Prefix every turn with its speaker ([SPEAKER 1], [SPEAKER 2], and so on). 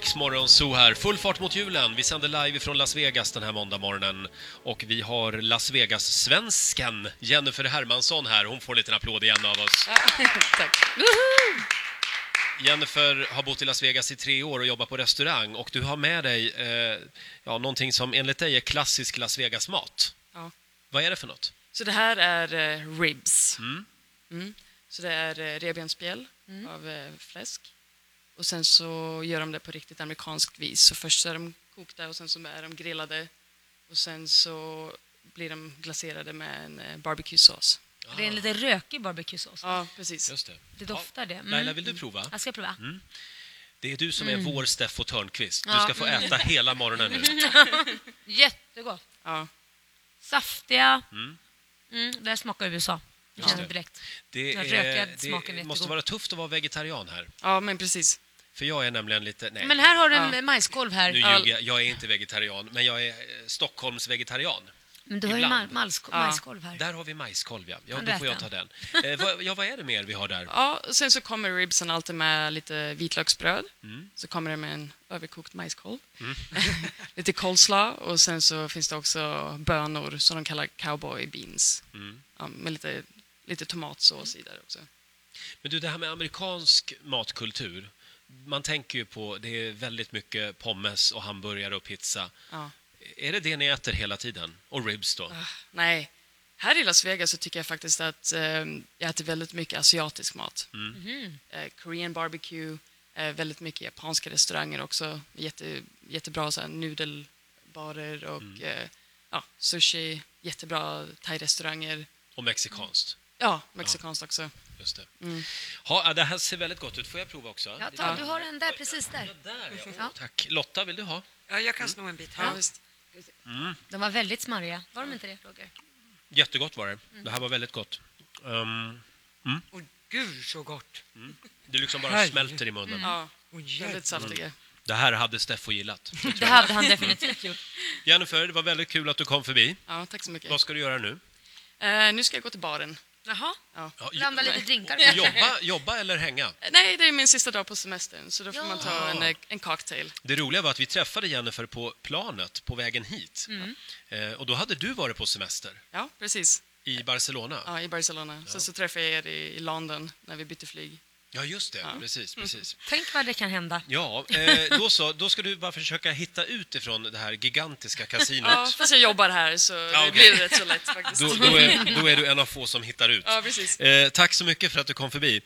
[SPEAKER 1] Riksmorgon Zoo här, full fart mot julen. Vi sänder live från Las Vegas den här måndagmorgonen och vi har Las Vegas-svensken Jennifer Hermansson här. Hon får en liten applåd igen av oss.
[SPEAKER 2] Tack.
[SPEAKER 1] Jennifer har bott i Las Vegas i tre år och jobbar på restaurang och du har med dig eh, ja, någonting som enligt dig är klassisk Las Vegas-mat.
[SPEAKER 2] Ja.
[SPEAKER 1] Vad är det för något?
[SPEAKER 2] Så det här är eh, ribs. Mm. Så det är eh, revbensspjäll av eh, fläsk. Och sen så gör de det på riktigt amerikanskt vis. Så först så är de kokta och sen så är de grillade. Och sen så blir de glaserade med en eh, barbecuesås.
[SPEAKER 3] Det är en lite rökig barbecuesås.
[SPEAKER 2] Ja, precis.
[SPEAKER 1] Just det.
[SPEAKER 3] Det doftar det. Mm.
[SPEAKER 1] Laila, Mm. vill du prova?
[SPEAKER 3] Jag ska prova.
[SPEAKER 1] Det är du som är vår Steffo Törnqvist. Du
[SPEAKER 3] Ja. Mm.
[SPEAKER 1] ska få äta hela morgonen nu.
[SPEAKER 3] Jättegott.
[SPEAKER 2] Ja.
[SPEAKER 3] Saftiga. Mm. det här smakar USA. Jag känner
[SPEAKER 1] det.
[SPEAKER 3] direkt.
[SPEAKER 1] Det,
[SPEAKER 3] Den rökiga
[SPEAKER 1] är,
[SPEAKER 3] smaken är
[SPEAKER 1] det måste
[SPEAKER 3] jättegod.
[SPEAKER 1] vara tufft att vara vegetarian här,
[SPEAKER 2] ja, men precis.
[SPEAKER 1] för jag är nämligen lite... Nej.
[SPEAKER 3] Men här har du en
[SPEAKER 2] Ja.
[SPEAKER 3] majskolv här.
[SPEAKER 1] Nu
[SPEAKER 3] Ja.
[SPEAKER 1] ljuger jag, jag är inte vegetarian, men jag är eh, Stockholms-vegetarian.
[SPEAKER 3] Men du har ju
[SPEAKER 1] ibland.
[SPEAKER 3] ma- malsko- majskolv här.
[SPEAKER 1] Där har vi majskolv, ja. ja
[SPEAKER 3] Kan
[SPEAKER 1] då
[SPEAKER 3] du
[SPEAKER 1] får jag ta
[SPEAKER 3] äta
[SPEAKER 1] den. Eh, vad, ja, vad är det mer vi har där?
[SPEAKER 2] Ja, och sen så kommer ribsen alltid med lite vitlöksbröd. Så kommer det med en överkokt majskolv. lite coleslaw och sen så finns det också bönor som de kallar cowboy beans. Ja, med lite, lite tomatsås i där också.
[SPEAKER 1] Men du, det här med amerikansk matkultur. Man tänker ju på, det är väldigt mycket pommes och hamburgare och pizza.
[SPEAKER 2] Ja.
[SPEAKER 1] Är det det ni äter hela tiden? Och ribs då?
[SPEAKER 2] Nej, här i Las Vegas så tycker jag faktiskt att eh, jag äter väldigt mycket asiatisk mat. Eh, Korean barbecue, eh, väldigt mycket japanska restauranger också. Jätte, jättebra så här, nudelbarer och eh, ja, sushi, jättebra thai-restauranger.
[SPEAKER 1] Och mexikanskt?
[SPEAKER 2] Ja, mexikanskt också.
[SPEAKER 1] Just det. Ha, ja, det här ser väldigt gott ut. Får jag prova också?
[SPEAKER 3] Mm. Ja, ta, du har en där precis där.
[SPEAKER 1] Där, ja.
[SPEAKER 3] Ja.
[SPEAKER 1] Tack. Lotta, vill du ha?
[SPEAKER 4] Ja, jag kan sno en bit
[SPEAKER 2] Mm. Ja,
[SPEAKER 4] här.
[SPEAKER 2] visst.
[SPEAKER 3] De var väldigt smarriga. Var de inte det, Roger?
[SPEAKER 1] Jättegott var det.
[SPEAKER 3] Mm.
[SPEAKER 1] Det här var väldigt gott. Ehm,
[SPEAKER 4] Och gud så gott!
[SPEAKER 1] det liksom bara
[SPEAKER 4] Herregud.
[SPEAKER 1] smälter i munnen.
[SPEAKER 3] Mm.
[SPEAKER 2] Ja, Mm.
[SPEAKER 4] Och
[SPEAKER 2] väldigt saftiga.
[SPEAKER 1] Det här hade Steffo gillat.
[SPEAKER 3] Det hade han definitivt gjort.
[SPEAKER 1] Jennifer, det var väldigt kul att du kom förbi.
[SPEAKER 2] Ja, tack så mycket.
[SPEAKER 1] Vad ska du göra nu?
[SPEAKER 2] Eh, nu ska jag gå till baren.
[SPEAKER 3] Jaha.
[SPEAKER 2] Ja.
[SPEAKER 1] Ja, jo-
[SPEAKER 3] Blanda lite drinkar.
[SPEAKER 1] och jobba, jobba eller hänga?
[SPEAKER 2] Eh, Nej, det är min sista dag på semestern, så då får
[SPEAKER 3] Ja.
[SPEAKER 2] man ta en, eh, en cocktail.
[SPEAKER 1] Det roliga var att vi träffade Jennifer på planet på vägen hit.
[SPEAKER 2] Mm.
[SPEAKER 1] Eh, och då hade du varit på semester
[SPEAKER 2] Ja, precis.
[SPEAKER 1] i Barcelona. Ja,
[SPEAKER 2] Ja, i Barcelona. Sen så träffade jag er i, i London när vi bytte flyg.
[SPEAKER 1] just det. Precis,
[SPEAKER 2] Mm.
[SPEAKER 1] precis.
[SPEAKER 3] Tänk vad det kan hända.
[SPEAKER 1] Ja, eh, då så. Då ska du bara försöka hitta ut ifrån det här gigantiska kasinot.
[SPEAKER 2] Ja, fast jag jobbar här så det
[SPEAKER 1] okej.
[SPEAKER 2] blir rätt så lätt faktiskt.
[SPEAKER 1] Då, då, är, då är du en av få som hittar ut.
[SPEAKER 2] Ja, precis.
[SPEAKER 1] Eh, tack så mycket för att du kom förbi.